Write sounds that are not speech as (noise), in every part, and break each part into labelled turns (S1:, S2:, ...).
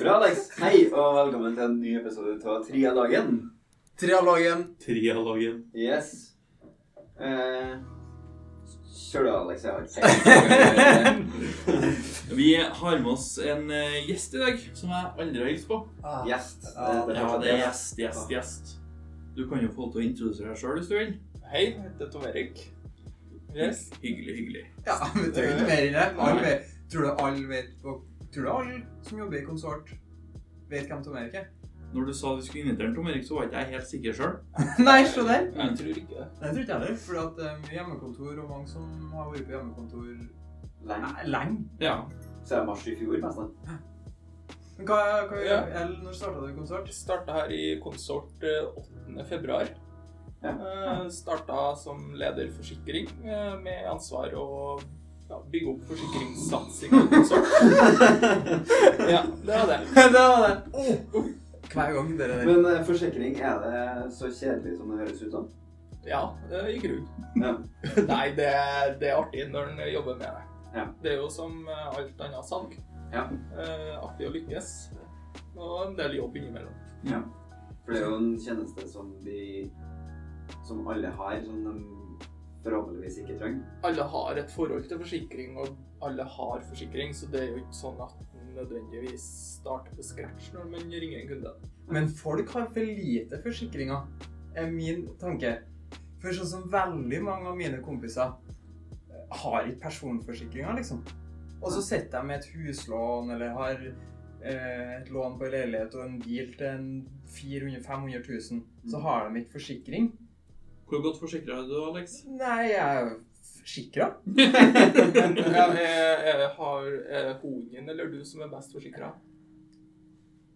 S1: Bra, Alex. Hei, og velkommen til en ny episode av Trialogen.
S2: Trialogen.
S3: Trialogen.
S1: Yes. Eh, kjør du, Alex. Jeg har
S3: (laughs)
S1: ikke
S3: Vi har med oss en eh, gjest i dag, som jeg aldri har hilst på.
S2: Ah.
S1: Gjest.
S2: Ja,
S3: Ja, det er gjest, gjest, gjest. Du kan jo få lov til å introdusere deg sjøl hvis du vil.
S4: Hei, jeg heter Tom Erik. Yes.
S3: Hyggelig, hyggelig.
S2: Ja, vi trenger ikke mer enn det. Alle vet, tror du alle vet hva- Tror du alle som jobber i konsort, vet hvem Tom (laughs) Erik er?
S3: Når du sa vi skulle invitere Tom Erik, så var ikke jeg helt sikker sjøl.
S2: Nei, se der!
S1: Mm.
S4: Jeg tror ikke det.
S2: Nei, Det tror ikke jeg heller. For at eh, mye hjemmekontor, og mange som har vært på hjemmekontor
S1: Lenge
S2: Nei, lenge.
S3: Ja.
S1: siden mars i fjor, nesten.
S2: Men hva, hva
S4: Ja.
S2: eller når starta du konsert?
S4: Jeg starta her i Konsort eh, 8. februar.
S1: Ja.
S4: Eh, Starta som leder forsikring, eh, med ansvar å ja, bygge opp forsikringssatsing i Konsort.
S1: (laughs)
S4: Ja, det var det.
S2: (laughs) det var det. Oh. Hver gang dere der.
S1: Men eh, forsikring, er det så kjedelig som det høres ut som?
S4: Ja, det gikk rundt.
S1: Ja.
S4: Nei, det, det er artig når en jobber med det.
S1: Ja.
S4: Det er jo som eh, alt annet salg.
S1: Ja.
S4: Eh, artig å lykkes. Og en del jobb innimellom.
S1: For det er jo en tjeneste som de Som alle har, som de forhåpentligvis ikke trenger.
S4: alle har et forhold til forsikring, og alle har forsikring, så det er jo ikke sånn at man nødvendigvis starter på scratch når man ringer en kunde.
S2: Men folk har for lite forsikringer, er min tanke. For sånn som veldig mange av mine kompiser eh, har ikke personforsikringer, liksom. Og så sitter de med et huslån eller har eh, et lån på en leilighet og en bil til en 400 500 000. Så har de ikke forsikring.
S3: Hvor godt forsikra er du, Alex?
S2: Nei, jeg er jo forsikra.
S4: Ja, eh, eh, har eh, hunden eller du som er best forsikra?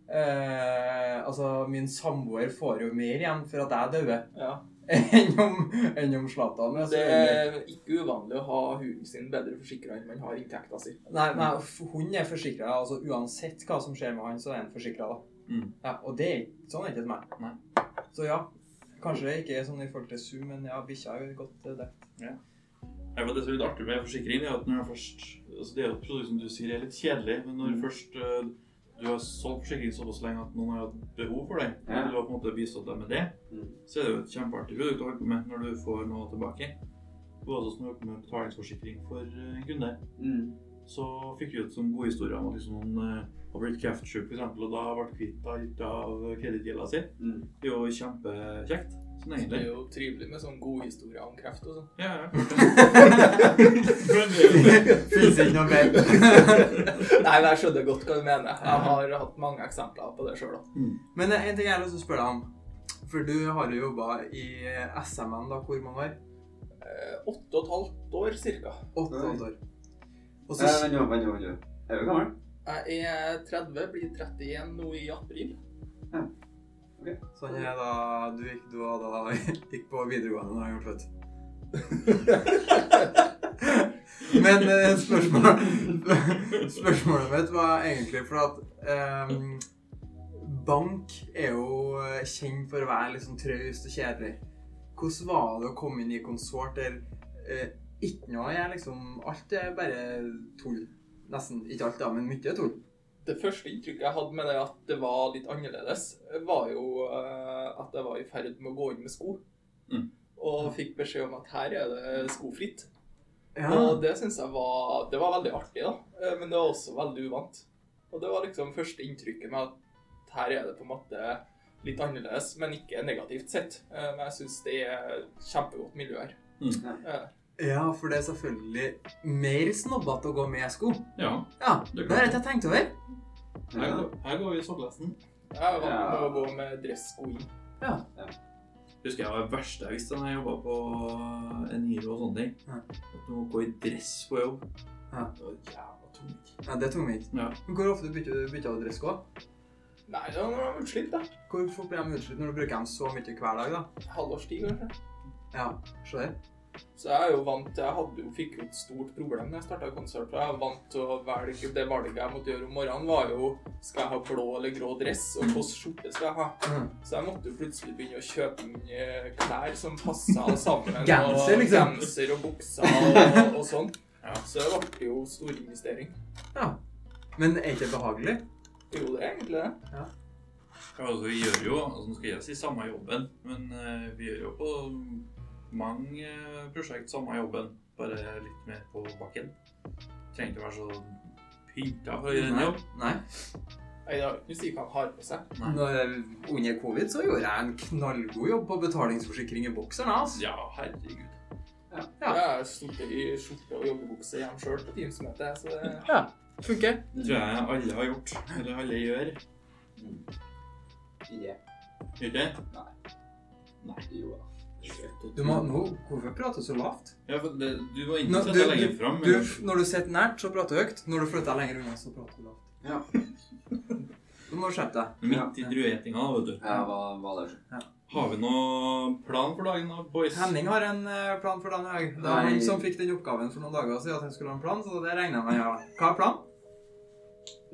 S2: Eh, altså, min samboer får jo mer igjen for at jeg dauer, (laughs)
S4: Ja.
S2: enn om, enn om Zlatan.
S4: Det
S2: selvfølgelig.
S4: er ikke uvanlig å ha hunden sin bedre forsikra enn man har inntekta si.
S2: Nei, nei f- hun er forsikra. Altså, uansett hva som skjer med han, så er han forsikra.
S3: Mm.
S2: Ja, og det er ikke- sånn er ikke det meg.
S3: Nei.
S2: Så ja, kanskje det ikke er sånn i forhold til sum, men ja, bikkja er jo godt eh, (laughs) dekt.
S3: Jeg vet, det som er litt artig med forsikring, er at når jeg først altså Det er jo et produkt som du sier er litt kjedelig, men
S4: Mm.
S3: når først eh, du har solgt forsikring såpass lenge at noen har hatt behov for det,
S1: Ja.
S3: og du har på en måte bistått dem med det,
S1: Mm.
S3: så er det jo et kjempeartig produkt å holde med når du får noe tilbake. Det var også sånn at vi holdt på med betalingsforsikring for eh, en kunde. Så fikk vi ut sånne gode historier om at liksom noen eh, har blitt kreftsyk, f.eks., og da ble kvitt alt av kredittgjelda si.
S1: Mm.
S3: Det er jo kjempekjekt. Sånn
S4: Så Altså, det
S3: egentlig.
S4: er jo trivelig med sånn gode historier om kreft og sånn.
S3: Ja, ja. Men det (laughs) er jo det.
S2: Fins ikke noe mer.
S4: Nei, men jeg skjønner godt hva du mener. Jeg har hatt mange eksempler på det sjøl òg.
S2: (laughs) Men eh, en ting jeg har lyst til å spørre deg om. For du har jo jobba i eh, SMN da, hvor mange år?
S4: Eh, Åtte og et halvt år cirka.
S2: Åtte
S1: Oi.
S2: åtte år.
S1: Eh,
S2: Og så
S1: Vent, nå, vent, nå, vent. nå. Er du gammel?
S4: Jeg er 30, blir 31 nå i april.
S2: sånn er da du gikk, du var da, (laughs) gikk på videregående da jeg ble født. (laughs) Men eh, spørsmål, (laughs) spørsmålet mitt var egentlig for at ehm, Bank er jo eh, kjent for å være litt sånn traust og kjedelig. Hvordan var det å komme inn i konsort der eh, ikke noe er liksom Alt er bare tull. Nesten. Ikke alt, da, men mye er tull.
S4: Det første inntrykket jeg hadde med det at det var litt annerledes, var jo eh, at jeg var i ferd med å gå inn med sko.
S3: Mm.
S4: Og fikk beskjed om at her er det skofritt.
S2: Ja.
S4: Og det syns jeg var Det var veldig artig, da. Eh, Men det var også veldig uvant. Og det var liksom første inntrykket med at her er det på en måte litt annerledes, men ikke negativt sett. Eh, Men jeg syns det er kjempegodt miljø her.
S3: Mm.
S4: Eh,
S2: ja, for det er selvfølgelig mer snobbete å gå med sko.
S3: Ja.
S2: Ja,
S3: Det
S2: det
S3: er klart.
S2: har jeg ikke tenkt over.
S3: Her går, her går vi i sopplesten.
S4: Jeg er vant med
S1: Ja.
S4: å gå med dressko inn.
S3: Husker jeg var det verste jeg visste da jeg jobba på Eniro og sånne ting.
S2: Ja.
S3: At du må gå i dress på jobb.
S2: Ja.
S3: Det var jævla tungt.
S2: Ja, det tok meg ikke.
S3: Ja.
S2: Men Hvor ofte bytter du bytter du dressko?
S4: Nei, det var utslipp, da.
S2: Hvor fort blir de utslitt når du bruker dem så mye hver dag, da?
S4: Halvårstid, kanskje.
S2: Ja, se der.
S4: Så jeg er jo vant til, jeg hadde jo, fikk jo et stort problem da jeg starta konsert. for Jeg var vant til å velge det valget jeg måtte gjøre om morgenen, var jo skal jeg ha blå eller grå dress, og hvilken skjorte skal jeg ha.
S2: Mm.
S4: Så jeg måtte jo plutselig begynne å kjøpe inn eh, klær som passa sammen.
S2: Genser,
S4: og
S2: liksom.
S4: (laughs) Genser og bukser og, og sånn.
S3: Ja.
S4: Så det ble jo stor investering.
S2: Ja. Men er ikke det behagelig?
S4: Jo, det er egentlig det.
S3: Ja, altså, vi gjør jo altså, nå skal jeg si samme jobben, men eh, vi gjør jo på mange eh, prosjekt samme jobben, bare litt mer på bakken. Trenger ikke være så pynta for å gjøre en jobb.
S2: Nei.
S4: Nei, da, Du sier hva han har på seg.
S3: Nei.
S2: Når, jeg- under covid så gjorde jeg en knallgod jobb på betalingsforsikring i bokseren. Altså.
S3: Ja, herregud.
S4: Ja.
S2: Ja.
S4: Jeg har sittet i skjorte og joggebukse hjemme sjøl på Teams-møte, så det
S2: Ja, funker.
S3: Det tror jeg alle har gjort, eller alle gjør.
S1: Ja.
S3: Gjør det?
S1: Jo da.
S2: Du må, nå, hvorfor prater du så lavt?
S3: Ja, for det, du var inne
S2: Nå,
S3: på at
S2: du-
S3: jeg legger fram.
S2: Du, når du sitter nært, så prater du høyt. Når du flytter deg lenger unna, så prater du lavt.
S1: Ja.
S2: Du må skjerpe deg.
S3: Midt i druetinga, vet du.
S1: Jeg var, var der.
S3: Har vi noen plan for dagen da, boys?
S2: Henning har en eh, plan for denne dag. Det var
S1: Nei.
S2: han som fikk den oppgaven for noen dager siden at han skulle ha en plan, så det regner jeg med. Ja. Hva er planen?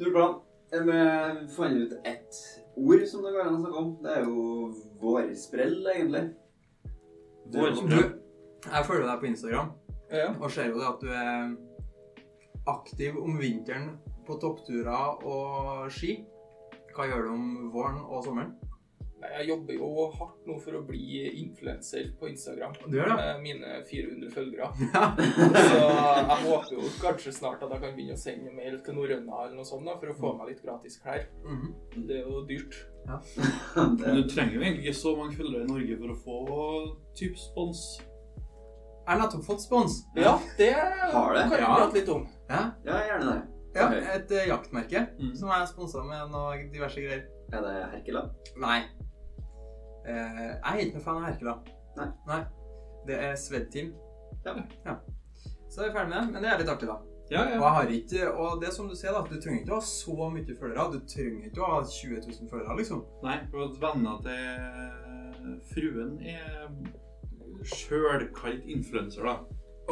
S1: Nordplan. Vi fant ut ett ord som det går an å snakke om. Det er jo vårsprell, egentlig.
S2: Du,
S3: Vårsprø.
S2: jeg følger deg på Instagram
S4: ja.
S2: og ser jo det at du er aktiv om vinteren på toppturer og ski. Hva gjør du om våren og sommeren?
S4: Nei, Jeg jobber jo hardt nå for å bli influenser på Instagram
S2: Du gjør
S4: med mine 400 følgere.
S2: Ja.
S4: Så jeg håper jo kanskje snart at jeg kan begynne å sende mail til Norrøna eller noe sånt da, for å få meg litt gratis klær.
S2: Mhm.
S4: Det er jo dyrt.
S3: Men
S1: Det,
S3: du trenger jo egentlig ikke så mange følgere i Norge for å få typ spons.
S2: Jeg har nettopp fått spons.
S4: Ja, det
S1: Har det?
S4: kan vi
S2: Ja.
S4: prate litt om.
S2: Ja,
S1: ja, gjerne det.
S2: ja
S1: Ok.
S2: et eh, jaktmerke
S3: Mm.
S2: som jeg sponsa med noe diverse greier.
S1: Er det Herkela?
S2: Nei. Eh, jeg er ikke noen fan av Herkela.
S1: Nei.
S2: Det er Sved Team.
S1: Ja.
S2: Så er vi ferdig med det. Men det er litt artig, da.
S3: Ja,
S2: Og
S3: ja.
S2: jeg har ikke, og det er som du sier, da, at du trenger ikke å ha så mye følgere. Du trenger ikke å ha 20 000 følgere, liksom.
S3: Nei, for at venner til fruen er sjølkalt influenser, da.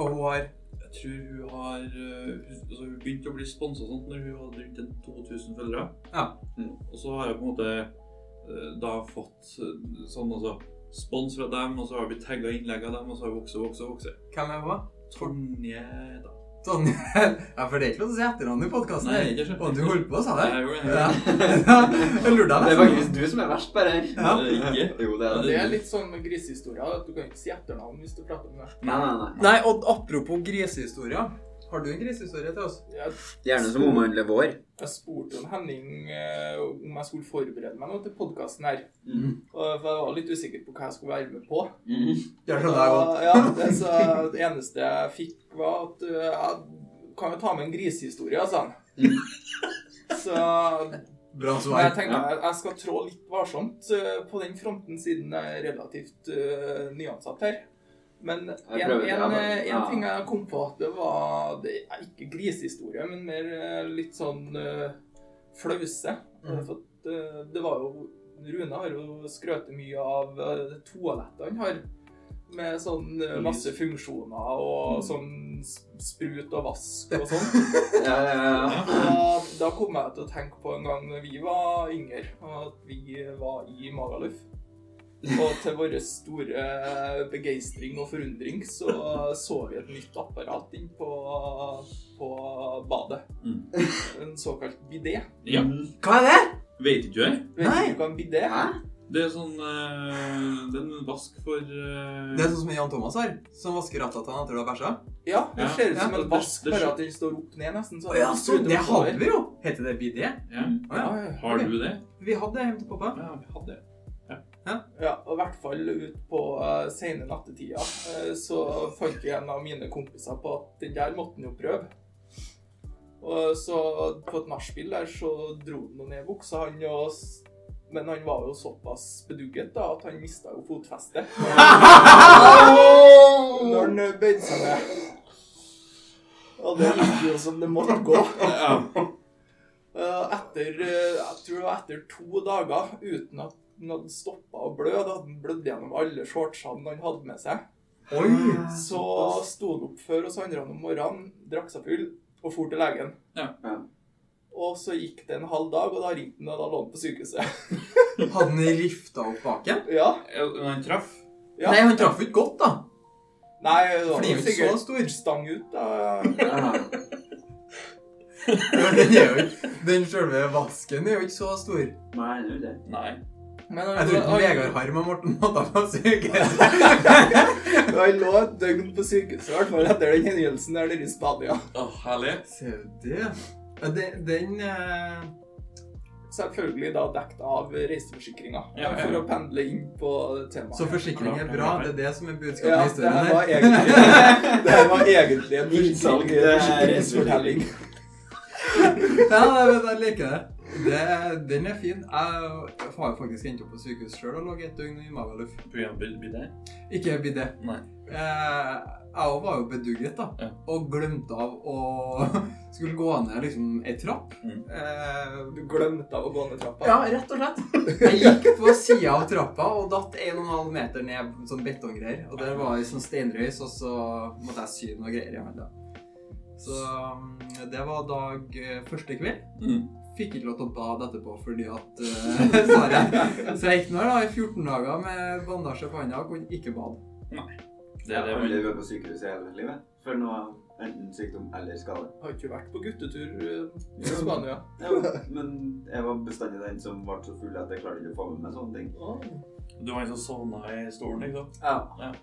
S2: Og hun har
S3: Jeg tror hun har eh, hun- altså Hun begynte å bli sponsa sånt når hun hadde rundt en 2000 følgere.
S2: Ja.
S1: Mm.
S3: Og så har jeg på en måte eh, da fått eh, sånn altså spons fra dem, og så har jeg blitt tagga innlegg av dem, og så har jeg vokst og vokst og vokst.
S2: Hvem er hun?
S3: Tonje da.
S2: Sånn (laughs) Ja, for det er ikke lov til å si etternavn i podkasten.
S3: Nei, ikke sant.
S2: Og du holdt på, sa
S3: Nei,
S2: du?
S3: jeg gjorde det.
S2: Ja. (laughs) Jeg lurte
S1: Det er
S2: deg nesten.
S1: faktisk du som er verst, bare her.
S2: Ja.
S3: Det er det ikke.
S1: Jo, det er det.
S4: Det er litt sånn med grisehistoria at du kan ikke si etternavn hvis du prater om det.
S1: Nei, nei, nei.
S2: Nei, og apropos grisehistorier. Har du en grisehistorie til oss?
S4: Jeg,
S1: Gjerne som omhandler vår.
S4: jeg spurte jo Henning eh, om jeg skulle forberede meg nå til podkasten her.
S1: Mm.
S4: Og- For jeg var litt usikker på hva jeg skulle være med på.
S2: Det skjønner jeg godt.
S4: Ja, det, så det eneste jeg fikk, var at uh, jeg kan jo ta med en grisehistorie, sa han. Så
S2: Bra
S1: Altså,
S4: men jeg
S2: svar.
S4: tenker jeg, jeg skal trå litt varsomt uh, på den fronten, siden jeg er relativt uh, nyansatt her. Men en,
S1: prøver,
S4: en,
S1: ja, men-
S4: eh, en
S1: ja.
S4: ting jeg kom på, at det var det er ikke grisehistorie, men mer eh, litt sånn eh, flause.
S1: Mm.
S2: Mhm.
S4: For at, eh, det var jo Rune har jo skrøtet mye av eh, toalettene han har. Med sånn eh, masse funksjoner og
S1: Mm.
S4: sånn s- sprut og vask og sånn.
S1: Ja, ja, ja.
S4: Da, Eh, da kom jeg til å tenke på en gang vi var yngre, og at vi var i Magaluf. Og til vår store begeistring og forundring så så vi et nytt apparat inn på, på badet.
S3: Mm.
S4: En såkalt bidé.
S3: Ja.
S2: Hva er det?
S3: Vet ikke jeg.
S4: Vet
S2: Nei.
S4: du hva en bidé er?
S1: Hæ?
S3: Det er sånn eh, Det er en vask for eh,
S2: Det er sånn som Jan Thomas har, som vasker rattatene etter du har bæsja.
S4: Ja, det
S3: Ja.
S4: ser ut som
S3: Ja,
S4: en
S3: det-
S4: vask,
S3: det-
S4: bare at den står opp ned nesten.
S2: Å ja, så
S4: den
S2: det
S4: spruter
S2: hadde
S4: oppover.
S2: vi jo! Heter det BD?
S3: ja.
S2: Å ja.
S4: Ja, ja.
S3: Har du det?
S2: Vi hadde det hjemme til pappa.
S3: Ja, vi hadde det.
S4: Ja, og i hvert fall ut på uh, sene nattetida eh, så fant jo en av mine kompiser på at den der måtte han jo prøve. Og så på et nachspiel der så dro han jo ned buksa, han og s- Men han var jo såpass bedugget da at han mista jo (laughs) fotfestet når han bøyde seg ned. Og det gikk jo som det måtte gå.
S3: Ja.
S4: Eh, etter, eh, jeg tror det var etter to dager uten at han hadde stoppa å blø, da hadde han blødd gjennom alle shortsene han hadde med seg,
S2: Oi!
S4: så sto han opp før oss andre om morgenen, drakk seg full og for til legen.
S3: Ja.
S1: Ja.
S4: Og så gikk det en halv dag, og da ringte han og da lå han på sykehuset.
S2: Hadde
S4: (laughs)
S2: han rifta opp baken?
S4: ja.
S3: Ja, Men han traff.
S4: Ja.
S2: Nei, han traff ikke godt, da.
S4: Nei, det
S2: For
S4: var
S2: den er
S4: jo
S2: jo ikke så
S4: sikkert
S2: stor.
S4: stang ut, da.
S1: Ja.
S2: Men den, er jo ikke, den selve vasken er jo ikke så stor.
S1: Nei, jeg gjør det.
S3: Nei.
S4: Men han,
S2: Jeg tror ikke Vegard
S4: han,
S2: Harm og Morten Matta på sykehuset.
S4: (laughs) han, lå et døgn på sykehuset, i hvert fall etter den hendelsen der nede i Spania.
S3: Åh, herlig.
S2: (laughs) Ser du det? Ja, det- Den eh,
S4: Selvfølgelig da dekt av reiseforsikringa
S3: Ja, ja, ja.
S4: for å pendle inn på temaet.
S2: Så forsikring er bra. Det er det som er budskapet
S4: Ja,
S2: i
S4: det her
S2: historien
S4: var
S2: her.
S4: egentlig, det her var egentlig en
S1: Innsalg,
S4: innsalg
S1: det er
S4: forsikringsfortelling.
S2: Ja, jeg vet, jeg liker det. det. Den er fin. Jeg har jo faktisk endt opp på sykehus sjøl og ligget et døgn i Magaluf.
S3: Programbilde?
S2: Ikke bidé.
S3: Nei.
S2: Eh, jeg var jo bedugget, da.
S3: Ja.
S2: Og glemte av å (laughs) skulle gå ned liksom ei trapp.
S3: Mm.
S2: Eh,
S4: Du glemte av å gå ned trappa.
S2: Ja, rett og slett. Jeg gikk på sida av trappa og datt 1,5 meter ned på sånn betonggreier. Og der var det sånn steinrøys, og så måtte jeg sy noe greier imellom. Så mm, det var dag eh, første kveld.
S3: Mm.
S2: Fikk ikke lov til å bade etterpå fordi at eh, så, har jeg, (laughs) så jeg gikk nå da i 14 dager med bandasje på hånda og kunne ikke bade.
S3: Det er
S1: Alle
S3: det vi
S1: lever på sykehus hele livet. For noe enten sykdom eller skade.
S4: Har ikke du vært på guttetur eh, i
S1: Jo.
S4: Spania?
S1: Ja, (laughs) men jeg var bestandig den som ble så full at jeg klarte ikke å få med meg sånne ting.
S3: Du var en som sovna i stolen, ikke sant?
S1: Ja.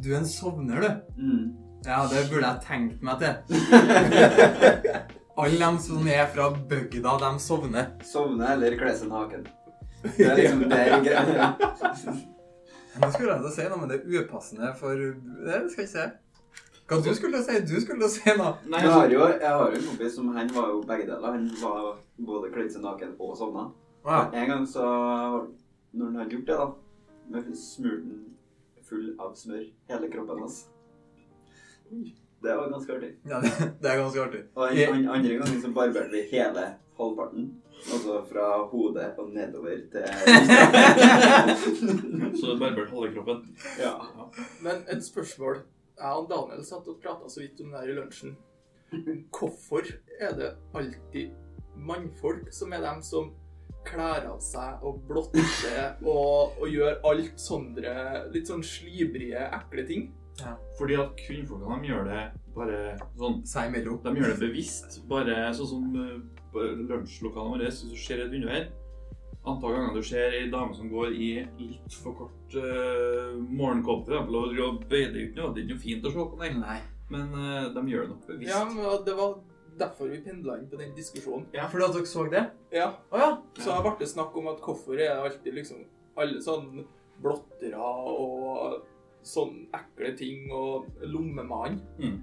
S2: Du er en sovner, du.
S1: Mm.
S2: Ja, det burde jeg tenkt meg til. Alle dem som er fra bygda, de sovner.
S1: (laughs) Sovne eller kle seg (laughs) naken. Det er liksom det er greia.
S2: Nå skulle jeg til å si noe, men det er upassende for Det skal jeg ikke si. Hva du skulle si? Du skulle si noe.
S3: Nei,
S1: Jeg har jo jeg har jo en kompis som han var jo begge deler. Han var både kledd seg naken og sovna.
S2: Wow.
S1: En gang så Når han hadde gjort det, da, med smurten full av smør hele kroppen hans Det var ganske artig.
S2: Ja, det, det er ganske artig.
S1: Og
S2: Jeg-
S1: den an- andre gangen så barberte vi hele halvparten. Altså fra hodet og nedover til
S3: Så det barberte halve kroppen.
S1: Ja.
S4: Men et spørsmål. Jeg og Daniel satt og prata så vidt om det her i lunsjen. Hvorfor er det alltid mannfolk som er dem som kler av seg og blotter og, og gjør alt sånne litt sånn slibrige, ekle ting?
S3: Fordi at kvinnfolkene de gjør det bare sånn
S2: Seg imellom.
S3: De gjør det bevisst. Bare sånn som eh, på lunsjlokalene våre, hvis du ser et vindu her Antall ganger du ser ei dame som går i litt for kort uh, morgenkåpe, for eksempel, og driver og bøyer deg ut nå, det er ikke noe fint å se på, nei.
S2: Nei.
S3: Men eh, de gjør det nok bevisst.
S4: Ja, men det var derfor vi pendla inn på den diskusjonen.
S3: Ja.
S2: Fordi at dere så det?
S4: Ja,
S2: Å ja.
S4: Så jeg ble snakk om at hvorfor er det alltid liksom alle sånn blottere og sånn ekle ting og lommemann.
S3: Mm.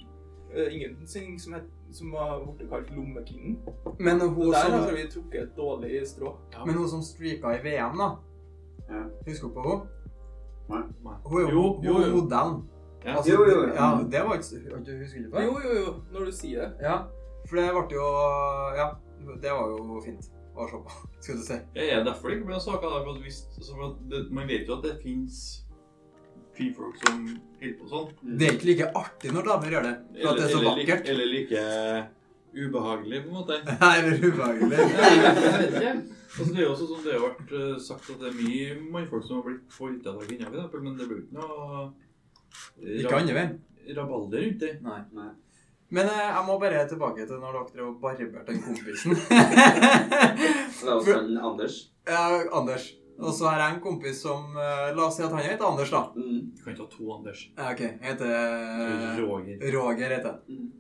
S4: Eh, Ingenting som, het, som har blitt kalt lommekvinnen.
S2: Men hun,
S4: Der
S2: som,
S3: altså.
S4: har vi trukket et dårlig strå.
S2: men hun som streaka i VM, da.
S1: Ja.
S2: Husker dere på henne?
S3: Nei.
S2: Hun er jo
S3: Jo, jo,
S2: hun er
S3: jo.
S2: modellen.
S3: Ja.
S2: Altså,
S1: Jo, jo, jo.
S2: det- Ja, det var ikke Har du husket på det?
S4: Jo, jo, jo, når du sier det.
S2: Ja. For det ble jo Ja, det var jo fint å se på, skulle du si.
S3: Det er derfor det ikke blir noen saker der. For at hvis, så for at det, man vet jo at det fins kvinnfolk som holder på sånn.
S1: Mm.
S2: Det er ikke like artig når damer gjør det, for at det er så
S3: eller, like,
S2: vakkert. (laughs)
S3: eller like ubehagelig, på en måte.
S2: Eller ubehagelig.
S3: Altså, det er jo også sånn, det har vært eh, sagt at det er mye mannfolk som har blitt forholdt av kvinner, for eksempel, men det blir jo ikke noe eh,
S2: Ikke andre veien.
S3: ra- rabalder rundt det.
S2: Nei.
S1: Nei.
S2: Men eh, jeg må bare tilbake til når dere drev og barberte den kompisen.
S1: La oss ta den Anders.
S2: ja, Anders. Og så har jeg en kompis som eh, La oss si at han heter Anders, da.
S1: Mm.
S3: Du kan ikke ha to Anders.
S2: Ja, ok. Jeg heter
S3: Roger.
S2: Roger. heter han.
S1: Mm.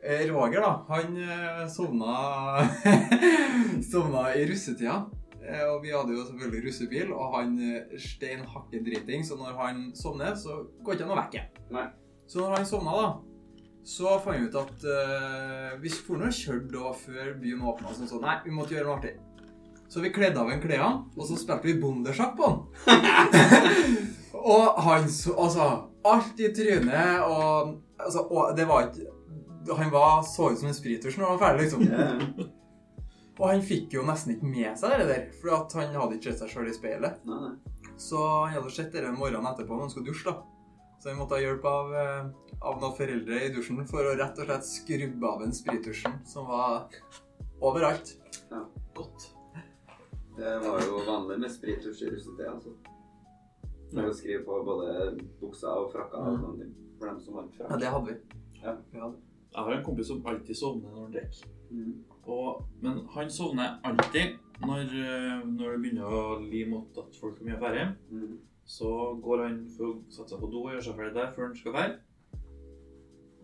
S2: Eh, Roger, da. Han eh, sovna (laughs) Sovna i russetida. Eh, Og vi hadde jo selvfølgelig russebil, og han eh, stein hakke driting, så når han sovner, så går ikke han å vekke.
S1: Nei.
S2: Så når han sovna, da, så fant vi ut at eh, vi skulle nå kjøre da før byen åpna, sånn sånn. Nei, vi måtte gjøre noe artig. Så vi kledde av en klærne, og så spilte vi bondesjakk på han. (laughs) og han så Altså, alt i trynet, og altså, og det var ikke Han var, så ut som en spriters når han var ferdig, liksom.
S1: Ja, ja.
S2: Og han fikk jo nesten ikke med seg det der, for at han hadde ikke sett seg sjøl i speilet.
S1: Nei, nei.
S2: Så han hadde sett det morgenen etterpå når han skulle dusje, da. Så han måtte ha hjelp av, eh, av noen foreldre i dusjen for å rett og slett skrubbe av en sprittusjen som var overalt.
S3: Godt.
S1: Det var jo vanlig med sprittusj i russetida. Altså. For å skrive på både buksa og frakka og sånne ting. For dem som har
S2: Ja,
S1: frakk.
S2: det hadde vi.
S1: Ja.
S2: Vi hadde.
S3: Jeg har en kompis som alltid sovner når han drikker.
S1: Mm.
S3: Og- Men han sovner alltid når, eh, når det begynner å li mot at folk er mye ferdig.
S1: Mm.
S3: Så går han for å sette seg på do og gjøre seg ferdig der før han skal være.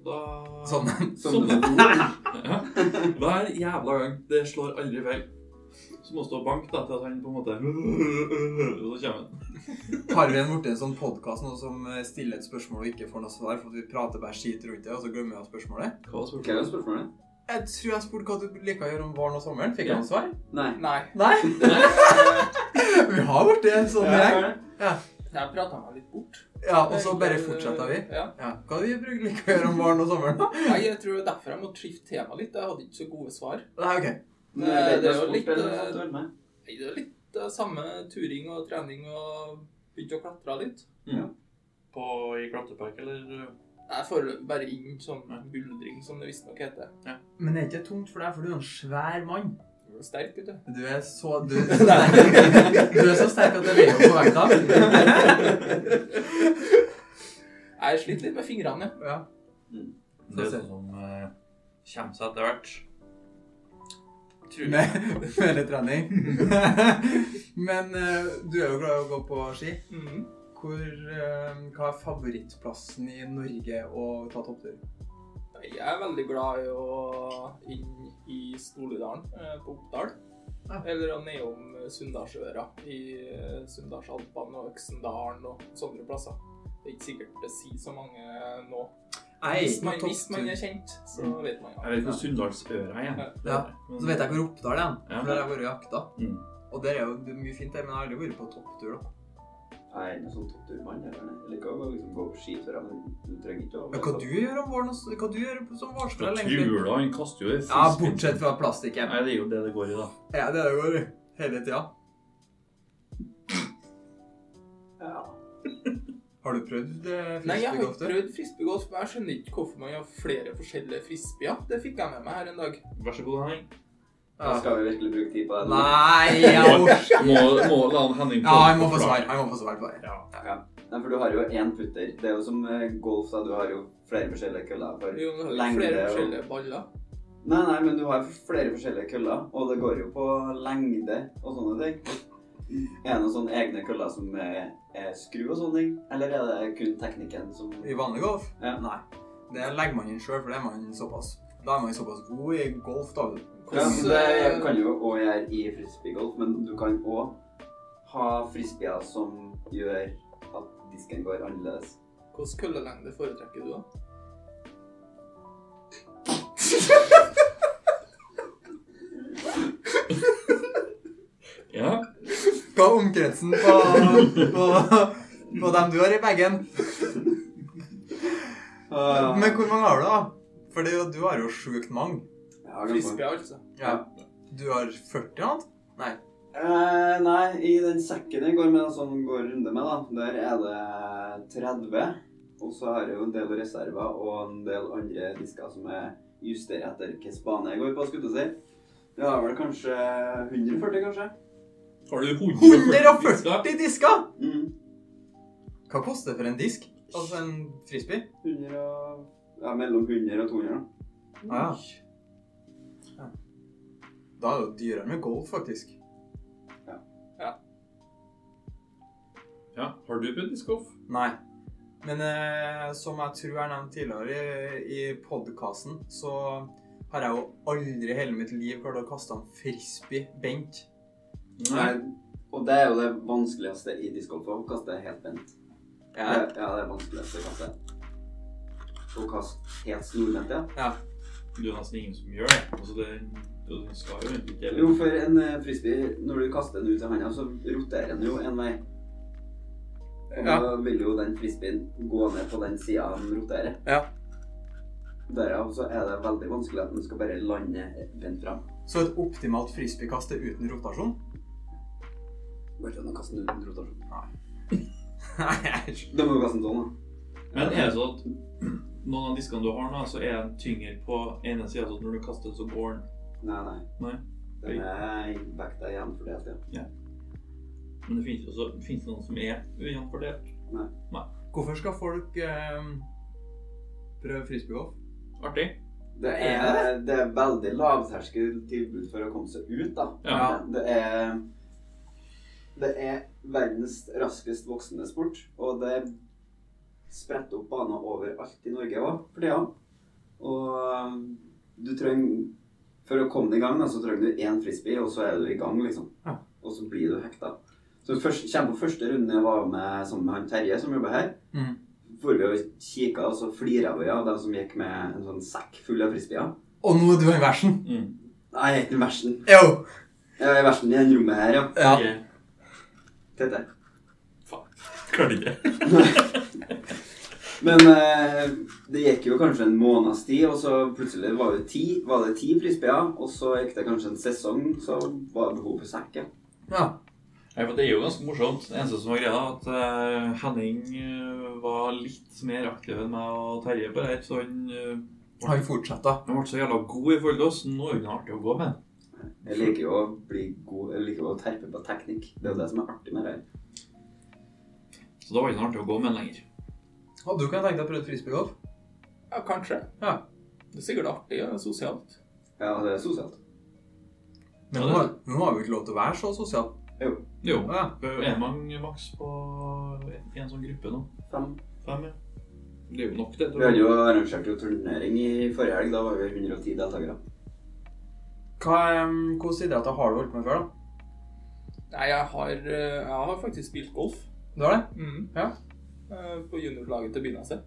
S3: Da
S2: Sånn. (laughs)
S1: Sånn.
S3: Ja. Hver jævla gang. Det slår aldri feil. Så må han stå og banke da, til at han på en måte Og så kommer han.
S2: Har vi en borte en sånn podkast nå som eh, stiller et spørsmål og ikke får noe svar, for at vi prater bare skit rundt det, og så glemmer vi spørsmålet?
S3: Hva var
S1: Hva er
S3: spørsmålet?
S1: spørsmålet?
S2: Jeg tror jeg spurte hva du liker å gjøre om våren og sommeren. Fikk jeg
S3: Ja.
S2: noe svar?
S1: Nei.
S4: Nei.
S2: Nei? (laughs) vi har borti en sånn
S4: Ja.
S2: gjeng.
S4: Jeg prata meg litt bort. Eh,
S2: Ja, og så bare fortsetter vi.
S4: Ja.
S2: Ja, Hva er det vi bruker liker å gjøre om våren og sommeren, da?
S4: Nei, jeg tror det er derfor jeg må skifte tema litt. Jeg hadde ikke så gode svar.
S2: Nei, ok.
S1: Men
S4: Nei,
S1: det,
S4: det
S1: er
S4: er jo
S1: sport,
S4: litt,
S1: eller
S4: eh,
S1: sånt, vel, nei.
S4: Nei, det er litt eh, samme turing og trening og begynte å klatre litt.
S3: På i klatrepark, eller?
S4: Jeg får bare inn sånn buldring, som det visstnok heter.
S2: Men det er ikke tungt for deg, for du er en svær mann.
S4: Du er Sterk, (laughs) vet du.
S2: Du er så (laughs) du, du er så sterk at jeg veier på vekta.
S4: Jeg sliter litt med fingrene.
S2: Ja.
S3: Det er sånn som eh, kommer seg etter hvert. Tror jeg.
S2: Med, med litt (laughs) trening. Men eh, du er jo glad i å gå på ski.
S4: Mhm.
S2: Hvor, eh, hva er favorittplassen i Norge å ta topptur?
S4: Jeg er veldig glad i å inn i Stoludalen eh, på Oppdal.
S2: Ja.
S4: Eller å nedom Sunndalsøra i eh, Sunndalsalpene og Øksendalen og sånne plasser. Det er ikke sikkert det sier så mange nå. Hvis man, hvis man er kjent, så vet man
S3: Jeg vet hvor Sunndalsøra er.
S2: Ja. Så vet jeg hvor Oppdal er,
S3: Ja.
S2: for der har jeg vært og jakta.
S3: Mm.
S2: Og der er jo det er mye fint der, men jeg har aldri vært på topptur, da.
S1: Nei, en sånn toppturmann eller noe. Jeg liker å liksom gå på skitur, men du trenger ikke å
S2: Men hva du gjør om våren, og s- hva du gjør som
S3: Fra
S2: vårspiller, egentlig?
S3: Trula, han kaster jo i
S2: Ja, bortsett fra plastikken.
S3: Nei, det er jo det det går i, da.
S2: Ja, det er det går i. hele tida.
S1: Ja.
S2: Har du prøvd eh,
S4: Nei, jeg har ikke
S2: frisbeegolf? du?
S4: prøvd frisbeegolf, men jeg skjønner ikke hvorfor man har flere forskjellige frisbeer. Det fikk jeg med meg her en dag.
S3: Vær så god, Henning.
S1: Da
S2: Ja.
S1: skal vi virkelig bruke tid på det. nå.
S2: Nei, jeg orker
S3: Må, må la han Henning
S2: Ja, jeg må få
S3: forklare.
S2: svar. Jeg må få svar på det.
S3: Ja.
S1: Nei, for du har jo én putter. Det er jo som eh, golf, da. Du har jo flere forskjellige køller for
S4: Jo, men det er
S1: lengde
S4: flere
S1: og-
S4: forskjellige baller.
S1: Nei, nei, men du har flere forskjellige køller, og det går jo på lengde og sånne ting. Er det noen sånne egne køller som er, er skru og sånne ting, eller er det kun teknikken som
S2: I vanlig golf?
S1: Ja.
S2: Nei. Det legger man inn sjøl, for det er man såpass. Da er man såpass god i golf, da.
S1: Ja,
S4: Hvordan,
S1: men det
S4: eh,
S1: kan jo òg gjøre i frisbeegolf, men du kan òg ha frisbeer som gjør at disken går annerledes.
S4: Hvilken eh, køllelengde foretrekker du, da?
S3: ja.
S2: Hva er omkretsen på, på, på dem du har i bagen? Men hvor mange har du, da? For det, er jo- du har jo sjukt mange.
S1: Ja, ganske.
S4: Frisbeer, altså.
S1: Ja.
S2: Du har 40 annet? Nei.
S1: Eh, nei, i den sekken jeg går med, da, som går runde med, da, der er det 30. Og så har jeg jo en del reserver og en del andre disker som jeg justerer etter hvilken bane jeg går på, skulle jeg til å si. Jeg har vel kanskje 140, kanskje?
S3: Har du
S2: 140 disker!
S1: Mm.
S2: Hva koster det for en disk? Altså en frisbee?
S1: 100 og... Ja, mellom 100 og 200. da.
S2: Ah, ja. Da er det jo dyrere med golf, faktisk.
S3: Ja, har du prøvd diskoff?
S2: Nei. Men eh, som jeg tror jeg nevnte tidligere i, i podkasten, så har jeg jo aldri i hele mitt liv klart å kaste en frisbee bent.
S1: Nei, Og det er jo det vanskeligste i discgolf, å kaste helt bent. Ja,
S2: Ja.
S1: ja det er vanskeligste å kaste. Å kaste helt snorbent, ja.
S3: Det er nesten ingen som gjør det. Altså, det, det det skal jo egentlig ikke
S1: Jo, for en eh, frisbee, når du kaster den ut av handa, så roterer den jo en vei. Og
S2: Ja.
S1: da vil jo den frisbeen gå ned på den sida den roterer.
S2: Ja.
S1: Derav så er det veldig vanskelig at den skal bare lande vendt fram.
S2: Så et optimalt frisbeekast er uten rotasjon?
S1: (laughs) Går ikke an å kaste den uten rotasjon.
S2: Nei, jeg skjønner.
S1: Da må du kaste den sånn, da.
S3: Men er det sånn at noen av diskene du har nå, så er den tyngre på ene sida, så at når du kaster, så går den.
S1: Nei, nei.
S3: Nei.
S1: Den er vekta igjen for det. Ja.
S3: Men det finnes jo også finnes det noen som er ujevnfordelt.
S2: hvorfor skal folk eh, prøve frisbeegolf?
S3: Artig.
S1: Det er, det er veldig lavterskel tilbud for å komme seg ut, da.
S3: Ja.
S1: Det er Det er verdens raskest voksende sport, og det spretter opp baner overalt i Norge òg for tida. Og um, du trenger For å komme deg i gang, da, så trenger du én frisbee, og så er du i gang, liksom.
S2: Ja.
S1: Og så blir du hekta. Så først, kjem på første runde jeg var med sammen med han Terje, som jobber her
S2: Mm.
S1: for vi og kikket, og så flira vi av dem som gikk med en sånn sekk full av frisbeer.
S2: Og nå er du i versen.
S3: Mm.
S1: Nei, jeg er ikke versten.
S2: Jo!
S1: Jeg er versten i dette rommet her, ja.
S2: Ja.
S3: Jeg
S1: Tete.
S3: klarte ikke.
S1: Men eh, det gikk jo kanskje en måneds tid, og så plutselig var det ti, var det ti frisbeer. Og så gikk det kanskje en sesong, så var det behov for sekken.
S2: ja.
S3: Nei, for Det er jo ganske morsomt. Det eneste som var greia, er at eh, Henning eh, var litt mer aktiv enn meg og Terje på det her. Så han, eh,
S2: Han fortsetter.
S3: han ble så jævla god i forhold til oss. Nå er han artig å gå med.
S1: Jeg liker jo å bli god, jeg liker jo å terpe på teknikk. Det er jo det som er artig med det her.
S3: Så da var han ikke artig å gå med lenger.
S2: Og du kan tenke deg å prøve frisbeegolf?
S4: Ja, kanskje.
S2: Ja.
S4: Det er sikkert artig og sosialt.
S1: Ja, det er sosialt.
S2: Men
S3: Ja,
S2: nå
S3: det-
S2: har, nå har vi jo ikke lov til å være så sosial.
S3: Jo.
S2: Ja.
S3: Er mange maks på i en sånn gruppe nå?
S1: Fem.
S3: Fem, ja. Det er jo nok, det.
S1: Vi hadde jo arrangert jo turnering i forrige helg. Da var vi 110 deltakere.
S2: Hva, em, Hvilke idretter har du holdt på med før, da?
S4: Nei, jeg har, eh, jeg har faktisk spilt golf.
S2: Du har det?
S4: Mm.
S2: Ja.
S4: Eh, På juniorlaget til byen jeg selv.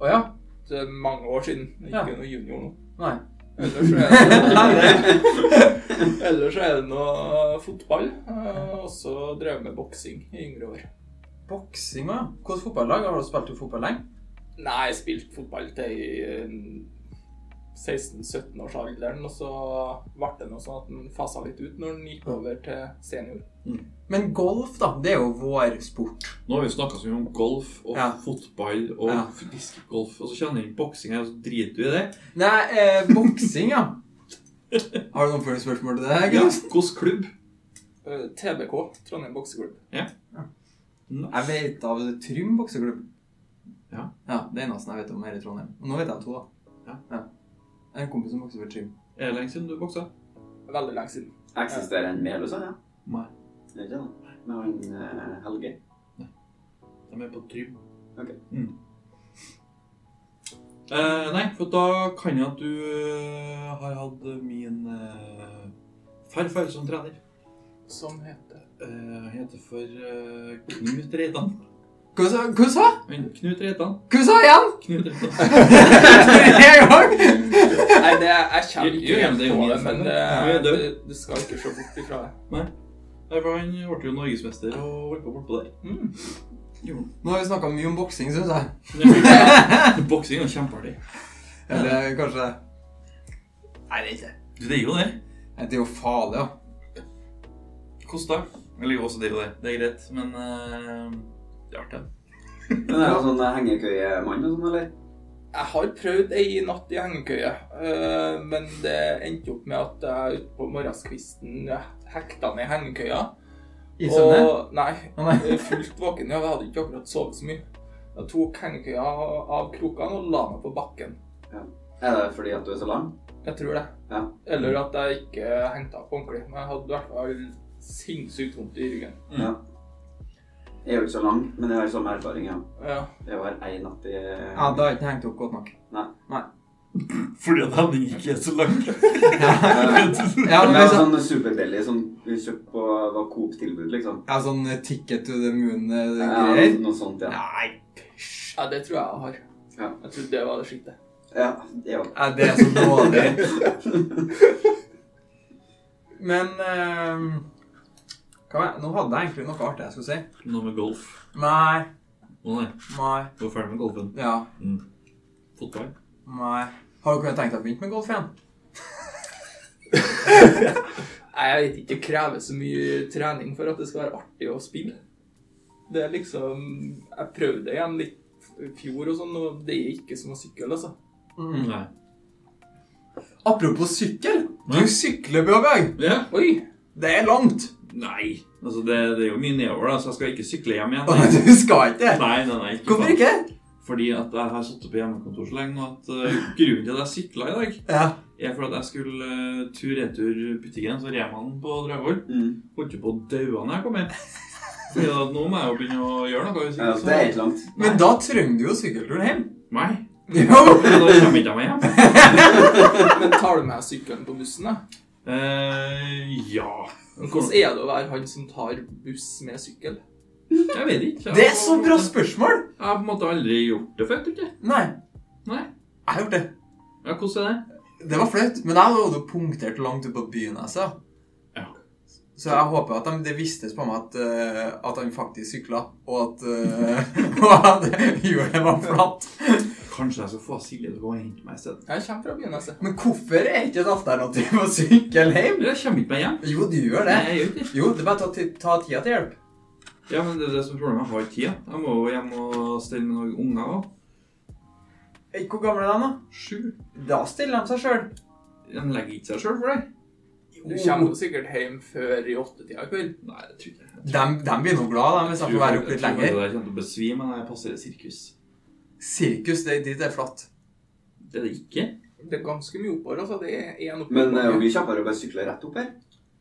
S2: Å ja?
S4: Det er mange år siden. Jeg
S2: Ja.
S4: Ikke noe junior (laughs) nå.
S2: Nei.
S4: Ellers så er (laughs) det, ellers så er det noe fotball. eh, Og så drev jeg med boksing i yngre år.
S2: Boksing, ja. Hvilket fotballag? Har du spilt jo fotball lenge?
S4: Nei, jeg spilte fotball til i eh, 16-17 års alderen, og så ble det noe sånn at den fasa litt ut når den gikk over til senior.
S2: Men golf, da, det er jo vår sport.
S3: Nå har vi snakka så mye om golf og
S2: Ja.
S3: fotball og
S2: Ja.
S3: diskgolf, og så kjenner jeg inn boksing her, og så driter du i det.
S2: Nei, eh, boksing, ja. Har du noen oppfølgingsspørsmål til det?
S3: Ja,
S2: Gunnar?
S3: Hvilken klubb?
S4: Eh, TBK, Trondheim bokseklubb.
S2: Jeg vet av Trym bokseklubb.
S3: Ja.
S2: ja. Det er eneste jeg vet om her i Trondheim. Og nå vet jeg to, da.
S3: Ja.
S2: Jeg har en kompis som bokser for Trym.
S3: Er det lenge siden du boksa?
S4: Veldig lenge siden.
S1: Eksisterer en mel hos han, ja?
S3: Nei.
S1: Det er ikke det. Med han eh, Helge.
S3: De er med på Trym.
S1: Ok.
S3: Mm. Eh, nei, for da kan jeg at du eh, har hatt min eh, farfar som trener.
S4: Som heter
S3: Eh, Han heter for eh, Knut Reitan.
S2: Hva sa hva sa?
S3: Men Knut Reitan.
S2: Hva sa
S3: (laughs)
S2: igjen? (laughs)
S3: Knut Reitan.
S2: Tre ganger!
S4: Nei, det, jeg kommer
S3: Jo,
S4: ikke
S3: jo,
S4: helt
S3: det er jo
S4: på
S3: min
S4: det, men
S3: feil.
S4: det,
S3: Du er
S4: du,
S3: død.
S4: du skal ikke se bort ifra det.
S3: Nei, for han ble jo norgesmester og holdt på bortpå der.
S4: Mm.
S3: Gjorde
S2: Nå har vi snakka mye om boksing, syns jeg.
S3: han. (laughs) Boksing er kjempeartig.
S2: Eller kanskje Nei, det er ikke det.
S3: Det er jo det.
S2: Nei, Det er jo farlig, ja.
S3: Kosta. Eller jo, også det er jo det. Det er greit, men eh, det er artig.
S1: Men er han sånn eh, hengekøyemann og sånn, eller?
S4: Jeg har prøvd ei natt i hengekøye, eh, men det endte opp med at jeg ute på morgenskvisten eh, hekta ned hengekøya.
S2: I søvne?
S4: Og, nei,
S2: Å, nei.
S4: jeg er fullt våken. Ja, jeg hadde ikke akkurat sovet så mye. Jeg tok hengekøya av krokene og la meg på bakken.
S1: Er det fordi at du er så lang?
S4: Jeg tror det.
S1: Ja.
S4: Eller at jeg ikke hengte av på ordentlig. Men jeg hadde i hvert fall sinnssykt vondt i ryggen.
S1: Jeg er jo ikke så lang, men jeg har samme erfaring, ja.
S4: Ja.
S1: Jeg var ei natt i eh,
S2: Ja,
S1: (laughs)
S2: da har jeg ikke hengt opp godt nok.
S3: (laughs)
S2: (laughs)
S3: Fordi at Henning ikke er så lang.
S2: Ja,
S1: men
S2: men
S1: det var
S2: liksom,
S1: sånn superbillig som vi kjøpte på var Coop-tilbud, liksom.
S2: ja, sånn eh, ticket to the
S1: Ja,
S2: moon-greier.
S1: noe sånt, ja.
S2: Nei,
S4: ja, det tror jeg jeg har.
S1: Ja.
S4: Jeg tror det var
S1: (laughs)
S4: det skittet.
S1: Ja, jeg òg.
S2: Nei, det er så dårlig.
S3: (laughs)
S2: Men eh, hva var, Nå hadde jeg egentlig noe artig jeg skulle si.
S3: (laughs) Noe med golf.
S2: Nei,
S3: Å nei,
S2: nei,
S3: du er ferdig med golfen.
S2: ja,
S3: Fotball.
S2: nei. Har dere tenkt å begynne med golf igjen?
S4: Nei, Jeg vet ikke, det krever så mye trening for at det skal være artig å spille. Det er liksom Jeg prøvde igjen litt i fjor og sånn, og det er ikke som å sykle, altså.
S3: Nei.
S2: Apropos sykkel. Du
S3: Ja.
S2: sykler, Bjørgaug.
S3: Ja.
S4: Oi!
S2: Det er langt.
S3: Nei. Altså, det, det er jo mye nedover, da, så jeg skal ikke sykle hjem igjen.
S2: Nei,
S3: (laughs) Nei,
S2: Du skal ikke det.
S3: nei, nei. ikke
S2: Hvorfor
S3: faen.
S2: ikke?
S3: Fordi at jeg har sittet på hjemmekontor så lenge nå at eh, grunnen til at jeg sykla i dag,
S2: Ja.
S3: er for at jeg skulle eh, tur-retur butikken, så Remaen på Dragvoll.
S1: Mm.
S3: Holdt jo på å daue når jeg kom hjem. Fordi at nå må jeg jo begynne å gjøre noe. Hvis
S1: Ja,
S3: ikke
S1: det er
S3: så
S1: ikke langt.
S2: Men da trenger du jo sykkelturen hjem.
S3: Nei.
S2: Jo!
S3: Da kommer jeg ikke meg hjem.
S4: Men tar du med sykkelen på bussen, da?
S3: Eh, ja
S4: Hvordan er det å være han som tar buss med sykkel?
S3: Jeg vet ikke. Jeg
S2: Det er
S3: har-
S2: så bra spørsmål!
S3: Jeg har på en måte aldri gjort det før, tror jeg.
S2: Nei,
S3: Nei.
S2: jeg har gjort det.
S3: Ja, hvordan er det?
S2: Det var flaut, men jeg hadde jo punktert langt ut på byen. Jeg, sa.
S3: Ja.
S2: Så jeg håper at de, det vistes på meg at, eh, at han faktisk sykla, og at, eh, (laughs) og at hjulet var flatt.
S3: Kanskje jeg skal få Silje til å gå og hente meg i stedet.
S4: Jeg kommer fra byen, altså.
S2: Men hvorfor er ikke et alternativ å sykle hjem?
S3: Jeg kommer ikke meg hjem.
S2: Jo, du gjør det.
S3: Nei, jeg gjør ikke det.
S2: Jo, det er bare å ta, ta tida til hjelp.
S3: Ja, men det er det som er problemet. Jeg har ikke tid. Jeg må jo hjem og stelle med noen unger òg.
S2: Eh, Hvor gammel er de,
S3: Sju.
S2: da? Da stiller de seg sjøl.
S3: De legger ikke seg sjøl for det.
S4: Du kommer jo sikkert hjem før i åttetida i kveld.
S3: Nei, det tror jeg ikke.
S2: De, de blir nå glad, de, hvis de får være oppe litt
S3: Jeg
S2: lenger.
S3: tror jeg kommer til å besvime når jeg passerer sirkus.
S2: Sirkus, det, dit er flatt.
S3: Det er det ikke.
S4: Det er ganske mye oppover, altså. Det er én oppover.
S1: Men eh, det er jo mye kjappere å bare sykle rett opp her.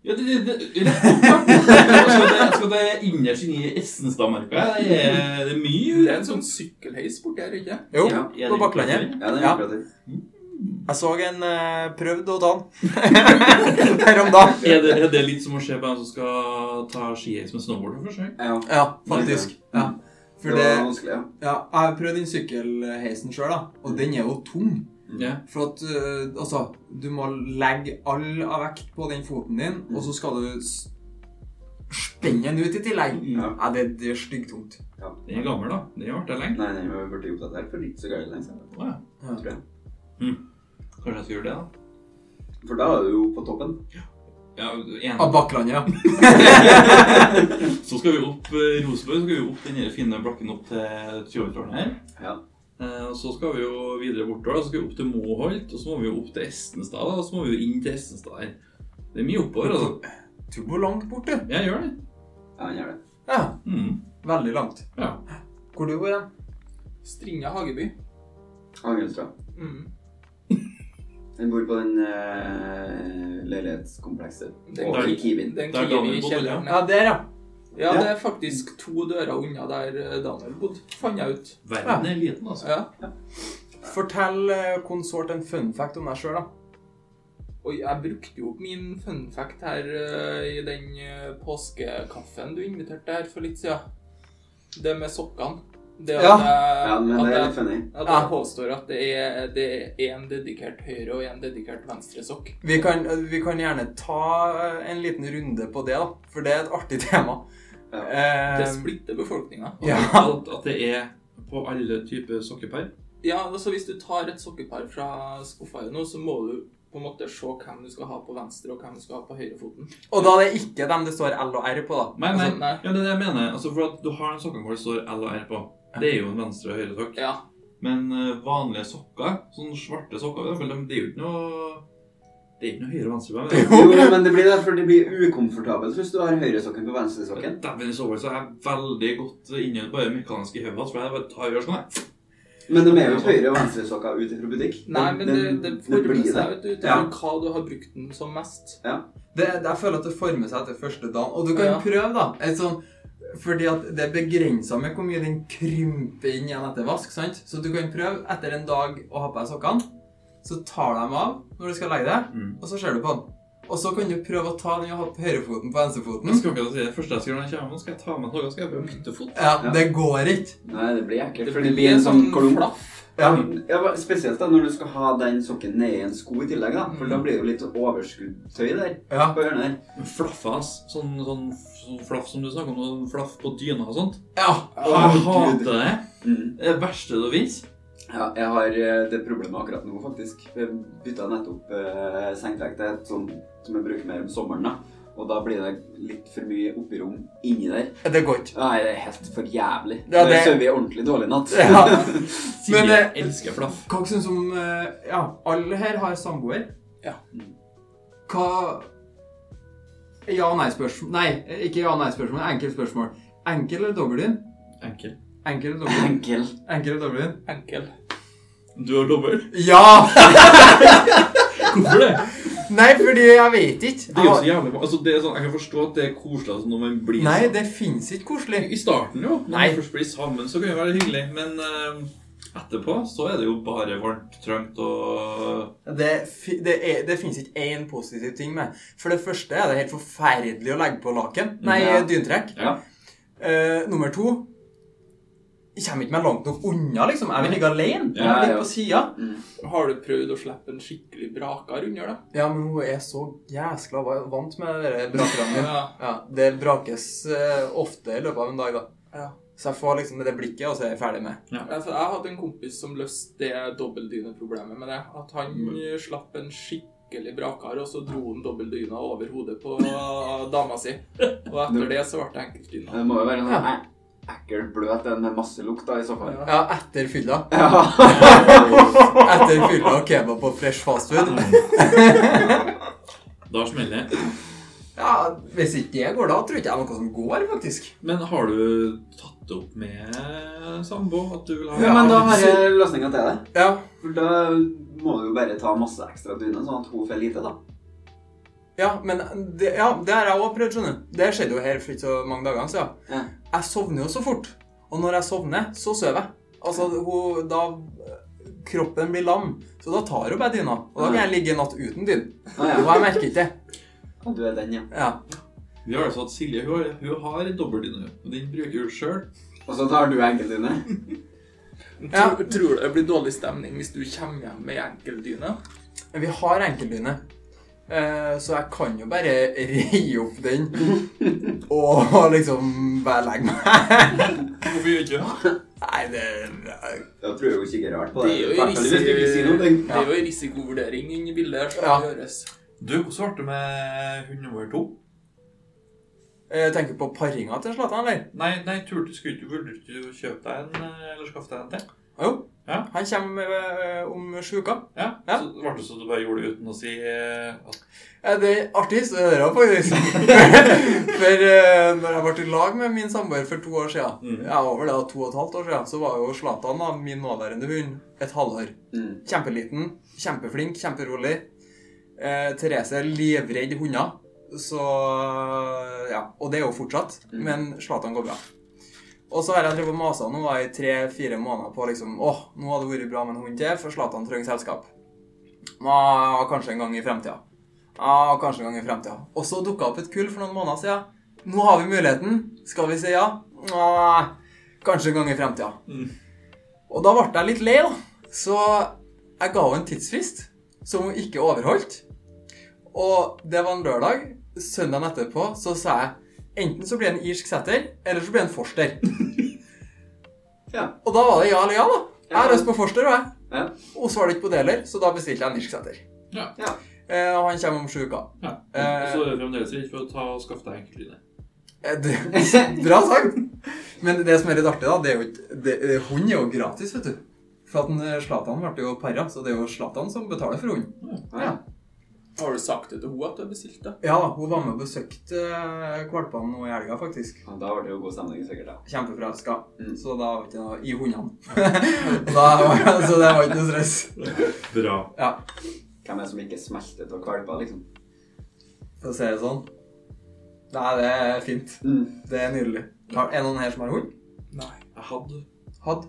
S3: Ja, det, det, det, rett opp, ja. Jeg skal til- jeg skal til innerst inni Essenstadmarka. Det er det er sånn- mye
S4: Det er en sånn sykkelheis borti her, ikke
S2: Jo,
S1: Ja,
S3: Er
S2: på
S3: det
S2: Bakklandet.
S1: Ja, den er
S2: Ja.
S1: akkurat det.
S2: Jeg så en eh, prøvd og dan (laughs) her om dagen.
S3: Er det, er det litt som å se på en som skal ta skiheis med snowboard for første gang?
S1: Ja,
S2: Ja, faktisk. Ja. For
S1: det
S2: det,
S1: var vanskelig, ja.
S2: ja, jeg har prøvd den sykkelheisen sjøl, da. Og den er jo tung.
S3: Ja.
S2: For at eh, altså Du må legge all av vekt på den foten din, og så skal du s- spenne den ut i tillegg.
S1: Ja.
S2: Ja, det, det er styggtungt.
S1: ja.
S3: Den er gammel, da. Den har vært der lenge.
S1: Nei, den er jo blitt oppdatert for ikke så liksom. gærent lenge siden.
S3: Å, ja. Hm.
S1: tror jeg.
S3: Kanskje jeg skal gjøre det, da.
S1: For da er du jo på toppen.
S3: Ja,
S2: Av
S3: en.
S2: Bakklandet, ja.
S3: Så skal vi opp eh, Rosenborg, så skal vi opp den her fine blokken opp til Tjuvtårnet her.
S1: Ja.
S3: Eh, og Så skal vi jo videre bortover, så skal vi opp til Moholt, og så må vi jo opp til Estenstad, da, og så må vi jo inn til Estenstad her. Det er mye oppover, altså.
S2: Du bor langt borte.
S3: Jeg gjør det.
S1: Ja, han gjør det.
S2: Ja,
S3: Mm.
S2: veldig langt.
S3: Ja.
S2: Hvor du bor hen?
S4: Stringa hageby.
S1: Angelstrand.
S4: Mm.
S1: Den bor på den eh, leilighetskomplekset.
S4: Den,
S1: Og
S3: Der-
S1: i Kiwien.
S4: den
S3: Der
S4: kiwi i
S3: Daniel bodde,
S4: kjelleren.
S2: Ja, der, ja.
S4: Ja, det er faktisk to dører unna der eh, Daniel bodde, fant jeg ut.
S3: Verden er liten, altså.
S4: Ja.
S2: Fortell eh, konsort en fun fact om deg sjøl, da.
S4: Og jeg brukte jo opp min fun fact her eh, i den eh, påskekaffen du inviterte her for litt siden. Det med sokkene. Det at,
S2: Ja.
S4: jeg,
S1: Ja, men
S4: at,
S1: det er litt
S4: jeg,
S1: funny.
S4: at
S2: Ja.
S4: jeg påstår at det er, det er en dedikert høyre og en dedikert venstre sokk.
S2: Vi kan, vi kan gjerne ta eh, en liten runde på det, da. For det er et artig (laughs) tema.
S1: Ja. (laughs)
S2: Eh,
S4: Det splitter befolkninga.
S2: ja.
S3: Alt at det er på alle typer sokkepær.
S4: Ja, altså hvis du tar et sokkepar fra skuffa her nå, så må du på en måte se hvem du skal ha på venstre og hvem du skal ha på høyrefoten.
S2: Og da er det ikke dem det står L og R på, da.
S3: Nei, nei.
S4: Altså, nei.
S3: Ja, det er det jeg mener. Altså, for at du har en sokken hvor det står L og R på. Det er jo en venstre og høyre sokk.
S4: Ja,
S3: Men eh, vanlige sokker, sånne svarte sokker, for eksempel, de- det er jo ikke noe Det er ikke noe høyre og venstre på dem.
S1: Jo, men det blir derfor det blir ukomfortabelt hvis du har høyresokken på venstresokken.
S3: Dæven, i sover så er jeg veldig godt inne bare mekanisk i hodet hans, for jeg bare tar og gjør sånn. jeg.
S1: Men de er jo ikke høyre- og venstresokker ut ifra butikk.
S4: Nei, men det, det former
S1: blir
S4: seg vet du, ut ifra
S1: Ja.
S4: hva du har brukt den som mest.
S2: Det, det, jeg føler at det former seg etter første dagen. Og du kan
S4: Ja.
S2: prøve, da. Et sånn, fordi at det er begrensa med hvor mye den krymper inn igjen etter vask. sant? Så du kan prøve etter en dag å ha på deg sokkene. Så tar du dem av når du skal legge deg,
S3: Mm.
S2: og så ser du på den. Og så kan du prøve å ta den og ha på høyrefoten på
S3: Jeg
S2: venstrefoten.
S3: skal ikke si det første jeg skal gjøre når jeg kommer, nå skal jeg ta med noe, skal jeg bare bytte fot.
S2: Ja, det går ikke.
S1: Nei, det blir ekkelt. For det blir en sånn klump.
S4: flaff.
S1: Ja, ja, men Spesielt da når du skal ha den sokken nedi en sko i tillegg, da. For da blir det jo litt overskuddstøy der.
S2: Ja.
S1: På hjørnet der.
S3: Men Flaffa hans, sånn, sånn, sånn flaff som du snakker om, sånn flaff på dyna og sånt.
S2: ja.
S1: Gud.
S3: Jeg hater det.
S1: Mm.
S3: Det er det verste det fins.
S1: Ja, jeg har eh, det problemet akkurat nå, faktisk. Jeg bytta nettopp eh, sengetrekk til et sånt som jeg bruker mer om sommeren. da. Og da blir det litt for mye oppi rom inni der.
S2: Det går ikke.
S1: Nei, det er helt for jævlig.
S2: Ja,
S1: det...
S2: det-
S1: sover jeg ordentlig dårlig i
S3: (laughs)
S1: natt. (laughs)
S2: Ja.
S3: Silje
S2: Men eh, det-
S3: elsker flaff.
S2: Hva syns du om eh, Ja, alle her har samboer.
S4: Ja.
S2: Hva Ja- og nei-spørsmål Nei, ikke ja- og nei-spørsmål. Enkelt spørsmål. Enkel eller dobbeltdyne?
S3: Enkel.
S2: Enkel eller
S3: (laughs)
S2: dobbel?
S1: Enkel.
S2: Enkel eller dobbel?
S4: Enkel.
S3: Du har dobbel?
S2: Ja!
S3: Hvorfor det?
S2: (laughs) Nei, fordi jeg vet ikke.
S3: Det er jo så jævlig altså, det er sånn, Jeg kan forstå at det er koselig altså, når man blir
S2: Nei,
S3: sammen.
S2: det fins ikke koselig.
S3: I starten, jo. Når
S2: Nei.
S3: man først blir sammen, så kan det være hyggelig. Men eh, etterpå så er det jo bare varmt, trangt og
S2: Det, fi- det, er- det finnes ikke én positiv ting med. For det første er det helt forferdelig å legge på laken. Nei,
S1: Ja.
S2: dyntrekk.
S3: Ja.
S2: Eh, nummer to Jeg kommer ikke meg langt nok unna, liksom. Jeg vil ligge alene. Jeg
S1: Ja,
S2: vil
S1: ja.
S2: ligge på sida.
S4: Har du prøvd å slippe en skikkelig brakar under, da?
S2: Ja, men hun er så jæskla va- vant med de brakerne.
S4: Ja.
S2: Ja, det brakes eh, ofte i løpet av en dag, da.
S4: Ja.
S2: Så jeg får liksom det blikket, og så er jeg ferdig med.
S4: Ja, for Altså, Jeg hadde en kompis som løste det dobbeltdyneproblemet med det. At han
S1: Mm.
S4: eh, slapp en skikkelig brakar, og så dro han dobbeltdyna over hodet på dama si.
S1: (laughs)
S4: Og etter det så ble det enkeltdyna.
S1: Det må jo være en sånn ek- ekkel bløt en med masse lukt, da, i så fall.
S2: Ja, etter fylla.
S1: (laughs) Ja.
S2: Etter fylla og kebab på fresh fast food.
S3: Da smeller det.
S2: Ja, Hvis ikke det går, da tror ikke jeg noe som går, faktisk.
S3: Men har du tatt det opp med sambo at du vil ha
S1: Ja, men da har jeg løsninga til det.
S2: Ja,
S1: For da må du jo bare ta masse ekstra dyne, sånn at hun får lite, da.
S2: ja men det, ja, det har jeg òg prøvd, skjønner du. Det skjedde jo her for ikke så mange dager siden.
S1: Ja.
S2: Jeg sovner jo så fort. Og når jeg sovner, så sover jeg. Altså, hun, da Kroppen blir lam, så da tar hun bare dyna. Og da kan jeg ligge en natt uten dyn.
S1: Ah,
S2: Og
S1: ja.
S2: jeg merker ikke det.
S1: Ja, Du er den, ja.
S2: Ja.
S3: Vi har altså hatt Silje. Hun har, hun har dobbeltdyne. Og den bruker hun sjøl.
S1: Og så tar du enkeltdyne.
S2: Ja.
S4: Tror, tror du det blir dårlig stemning hvis du kommer hjem med enkeltdyne?
S2: Men vi har enkeltdyne, eh, så jeg kan jo bare rei opp den og (laughs) liksom bare legge meg.
S3: Hvorfor gjør ikke hun det?
S2: Nei, det
S1: Da tror jeg hun kikker rart på
S4: Det
S1: det.
S4: er jo
S1: I hvert fall hvis du ikke sier noe.
S4: Det er jo en risikovurdering inni bildet. her som
S2: Ja.
S4: gjøres.
S3: Du, hvordan ble det med hund nummer to?
S2: Eh, tenker du på paringa til Zlatan, eller?
S3: Nei, nei turte skulle ikke burde du ikke kjøpe deg en eh, eller skaffe deg en til?
S2: Ah, Jo.
S3: Ja.
S2: Han kommer eh, om sju uker.
S3: Ja.
S2: Ja.
S3: Så ble det så du bare gjorde det uten å si eh, at
S2: Eh, det er artig å høre, faktisk. (laughs) for eh, når jeg ble i lag med min samboer for to år siden,
S3: Mhm.
S2: ja, over det, to og et halvt år siden, så var jo Zlatan, da, min nåværende hund, et halvår.
S1: Mm.
S2: Kjempeliten, kjempeflink, kjemperolig. Eh, Therese er livredd hunder, så ja, og det er jo fortsatt,
S1: Mm.
S2: men Zlatan går bra. Og så har jeg drevet og masa nå da i tre-fire måneder på liksom, åh, nå hadde det vært bra med en hund til, for Zlatan trenger selskap. Ah, kanskje en gang i fremtiden. Ah, kanskje en gang i fremtiden. Og så dukket opp et kull for noen måneder siden. Nå har vi muligheten. Skal vi si ja? Ah, kanskje en gang i fremtiden.
S3: Mm.
S2: Og da ble jeg litt lei, da. Så jeg ga henne en tidsfrist som hun ikke overholdt. Og det var en lørdag. Søndagen etterpå så sa jeg enten så blir det en irsk setter, eller så blir det en forster.
S1: (laughs) Ja.
S2: Og da var det ja eller ja, da. Jeg har
S1: Ja.
S2: lyst på forster, og jeg.
S1: Ja.
S2: Og så var det ikke på det heller, så da bestilte jeg en irsk setter.
S3: Ja.
S1: Ja.
S2: Eh, og han kommer om sju uker.
S3: ja.
S2: Eh.
S3: Så er det fremdeles ikke for å ta og skaffe deg enkeltdyne.
S2: Eh, det- (laughs) Bra sagt! Men det som er litt artig, da, det er jo ikke det- eh, Hund er jo gratis, vet du. For at den, eh, Zlatan ble jo para, så det er jo Zlatan som betaler for hunden.
S1: Ah, ja.
S4: Har du sagt det til henne at du har bestilt det?
S2: Ja da, hun var med og besøkte eh, valpene nå i helga, faktisk.
S1: Ja, Da var det jo god stemning, sikkert. da.
S2: Kjempeforelska.
S1: Mm.
S2: Så da var det ikke noe i hundene. (laughs) da, var- så det var ikke noe stress.
S3: Bra.
S2: Ja,
S1: Hvem er det som ikke smelter av valper, liksom?
S2: for å si det sånn. Nei, det er fint.
S1: Mm.
S2: Det er nydelig. Har, er det noen her som har hund?
S4: Nei.
S3: Jeg hadde
S2: Hadd?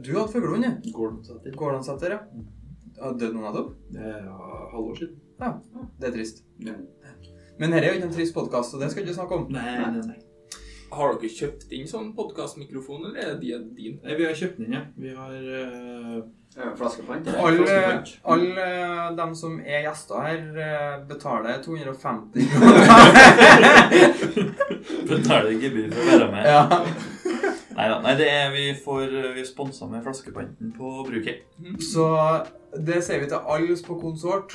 S2: Du hadde fuglehund, ja.
S3: Gordon Sæter.
S2: Gårdlandsetter, ja. Har dødd noen av dem?
S3: Det er halvår siden.
S2: Det er trist.
S3: Ja.
S2: Men dette er jo ikke en trist podkast, så det skal vi ikke snakke om.
S3: Nei, nei, nei.
S4: Har dere kjøpt inn sånn podkastmikrofon, eller er det din?
S3: Nei, Vi har kjøpt den inn, ja. Vi har eh,
S1: Ja, Flaskepant? eller?
S2: Alle
S3: Flaskepant.
S2: alle eh, dem som er gjester her, eh, betaler 250 kroner.
S3: Betaler gebyr for å være med.
S2: ja.
S3: Neida, nei, det er vi får Vi er sponsa med flaskepanten på bruket.
S2: Så det sier vi til alle på konsort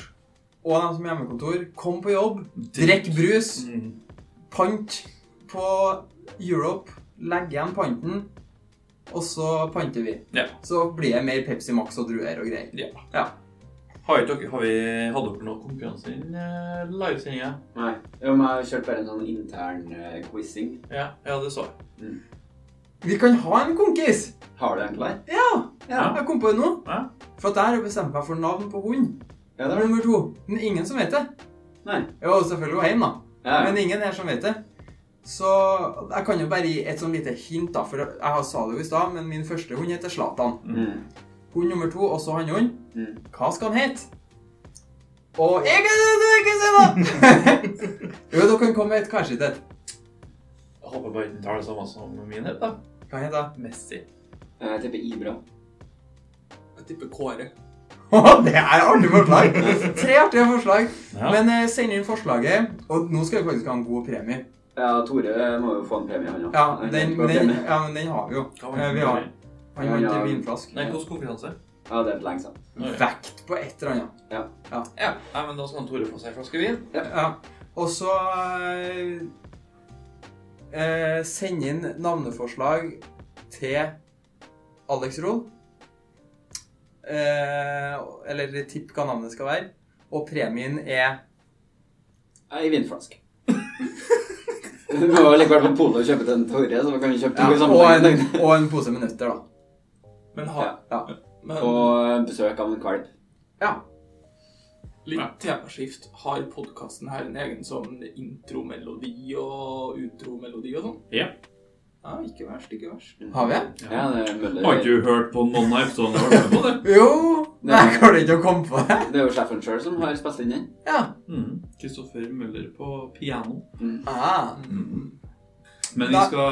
S2: og dem som er hjemmekontor. Kom på jobb, drikk brus,
S3: Mm.
S2: pant på Europe, legg igjen panten, og så panter vi.
S3: Ja.
S2: Så blir det mer Pepsi Max og druer og greier.
S3: Har, ikke dere, har vi Hadde dere noen konkurranse i uh, livesendinga?
S1: Nei. Jo, men jeg har kjørt bare en sånn intern eh, quizing.
S3: Ja, ja, det så jeg.
S1: Mm.
S2: Vi kan ha en konkis!
S1: Har du en klar?
S2: Ja!
S1: Ja.
S2: Jeg kom på det nå.
S3: Ja.
S2: For at der har jeg bestemt meg for navn på hund.
S1: Ja, det
S2: Det er
S1: var
S2: nummer to. Men ingen som vet det.
S1: Nei.
S2: Jo, selvfølgelig jo heim, da.
S1: Ja.
S2: Men ingen her som vet det. Så jeg kan jo bare gi et sånn lite hint, da. For jeg har- sa det jo i stad, men min første hund heter Zlatan.
S1: Mm.
S2: Hund nummer to, også hannhund.
S1: Mm.
S2: Hva skal han hete? Og jeg kan ikke si noe!
S1: (laughs)
S2: jo, dere kan komme med et kanskje til.
S3: Jeg håper bare den tar det samme som min het, da.
S2: Hva heter (laughs) det?
S3: Messi.
S1: Jeg tipper Ibra.
S4: Jeg tipper Kåre.
S2: det er artig
S1: (laughs)
S2: forslag! Tre artige forslag.
S3: Ja.
S2: Men eh, send inn forslaget. Og nå skal vi faktisk ha en god premie.
S1: Ja, Tore må jo få en premie, han òg.
S2: Ja, den, men den, ja, men den har vi jo.
S3: Hva
S2: Eh,
S3: var
S2: vi har
S3: det?
S2: Han vant
S1: Ja,
S2: en
S1: ja.
S2: vinflask.
S3: Nei, hvilken konkurranse?
S1: Ja, det er for lenge siden.
S3: Nei.
S2: Vekt på et eller annet.
S3: Ja, nei, men da skal han Tore få seg en flaske vin.
S2: Ja. Og så eh, eh, send inn navneforslag til Alex Roll. Eh, eller tipp hva navnet skal være. Og premien er
S1: Ei vinflaske. (laughs) Du må jo likevel på polet og kjøpe til en Tore, så man kan kjøpe to i
S2: og, en,
S1: (laughs) sammenheng.
S2: og en pose med nøtter, da.
S4: Men ha
S2: Ja.
S4: men
S1: Og besøk av en kvalp.
S2: ja.
S4: litt temaskift. Har podkasten her en egen sånn intromelodi og utromelodi og sånn?
S3: Ja.
S4: Ja, ikke verst, ikke verst.
S2: Har vi?
S1: Ja, det er
S3: Har
S1: Møller.
S3: ikke du hørt på noen av episodene jeg har vært med på, (laughs) det?
S2: Jo!
S1: Nei.
S2: Nei, jeg klarer ikke å komme på det.
S1: Det er jo sjefen sjøl som har spilt inn den.
S2: Ja.
S3: Mm. Kristoffer Møller på piano.
S2: Ah.
S3: Mm. Men vi
S2: Da-
S3: skal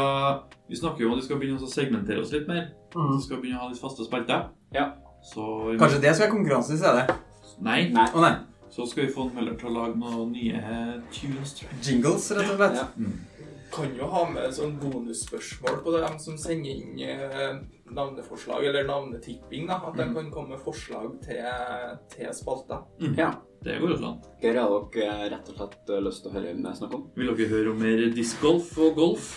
S3: Vi snakker jo om at vi skal begynne å segmentere oss litt mer. Vi
S2: Mm.
S3: skal begynne å ha litt faste spalter.
S1: Ja.
S3: Så
S2: Kanskje det skal være konkurransen i stedet?
S3: Nei.
S1: Nei.
S2: Å nei.
S3: Så skal vi få en Møller til å lage noen nye eh, tunes. tror jeg.
S2: Jingles, rett og slett.
S1: Ja.
S4: Kan jo ha med sånn bonusspørsmål på dem som sender inn eh, navneforslag eller navnetipping. da, At de
S1: Mhm.
S4: kan komme med forslag til, til spalta.
S1: Ja.
S3: Det går jo an.
S1: Hva har dere eh, rett og slett lyst til å høre meg snakke om?
S3: Vil dere høre om mer discgolf og golf?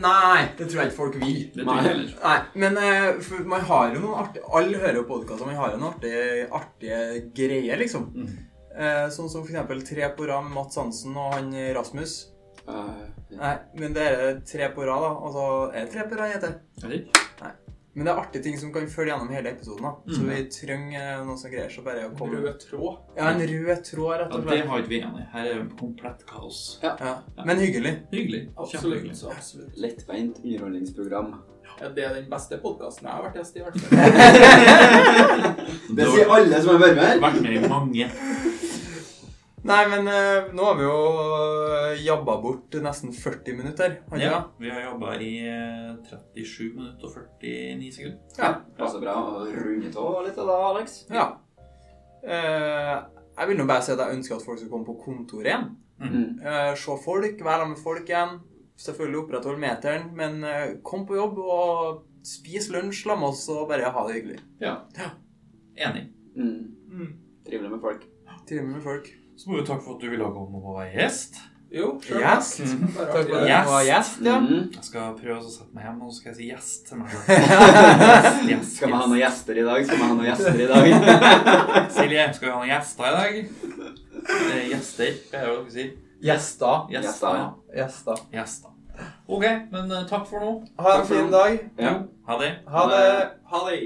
S2: Nei, det tror jeg ikke folk vil.
S3: Det tror jeg heller.
S2: Nei, men eh, for man har jo noen artige Alle hører jo podkaster, man har jo noen artige, artige greier, liksom.
S3: Mm.
S2: Eh, sånn som for eksempel tre på rad med Mats Hansen og han eh, Rasmus.
S1: Eh,
S2: Nei, men det er tre på rad, da. Altså, er det tre på rad, heter det?
S3: Eller?
S2: Men det er artige ting som kan følge gjennom hele episoden. da. Så
S3: Mm.
S2: vi trenger eh, noen som greier så bare å komme
S4: Rød tråd.
S2: Ja, en rød tråd, rett
S3: Ja,
S2: og
S3: det
S2: slett.
S3: har ikke vi igjen i. Her er det komplett kaos.
S2: Ja. Men hyggelig.
S3: Hyggelig.
S4: Absolutt.
S3: Kjempehyggelig.
S4: så absolutt.
S1: Lettbeint underholdningsprogram.
S4: Ja, det er den beste podkasten jeg har vært gjest i, i hvert fall.
S1: Det sier alle som har vært med
S3: Du har
S1: her.
S3: vært med i mange.
S2: Nei, men eh, nå har vi jo eh, jabba bort nesten 40 minutter. Har vi
S3: Ja,
S2: det?
S3: vi har jobba i eh, 37 minutter og 49 sekunder.
S1: Det er så bra å runde av litt av det, Alex.
S2: Ja. Eh, jeg vil nå bare si at jeg ønsker at folk skal komme på kontoret igjen.
S1: Mm.
S2: Eh, se folk, være sammen med folk igjen. Selvfølgelig opprettholde meteren, men eh, kom på jobb og spis lunsj la med oss og bare ha det hyggelig.
S3: Enig.
S1: Mm.
S4: Mm.
S1: Trivelig med folk.
S2: Trivelig med folk.
S3: Så må vi takke for at du ville komme og være gjest.
S4: Jo, sjøl.
S2: Gjest.
S1: Mhm.
S4: Bare
S2: Takk for
S4: artig.
S2: at
S3: Yes.
S2: du var gjest, ja.
S1: Mm.
S3: Jeg skal prøve å sette meg hjem, og så skal jeg si yes til
S1: (laughs)
S3: meg selv. Yes,
S1: Skal vi ha noen
S3: yes,
S1: gjester i dag? Skal vi ha noen gjester i dag?
S3: yes. Silje, skal vi ha noen gjester i dag? Eh, gjester, hva er det dere sier?
S2: Gjester.
S3: Gjester. ja.
S2: Gjester.
S3: Gjester. Ok, men eh, takk for nå.
S2: Ha
S1: Takk
S2: en
S1: for
S2: fin
S1: nå.
S2: dag.
S1: Ja.
S3: Ha det.
S2: Ha det.
S4: Ha det.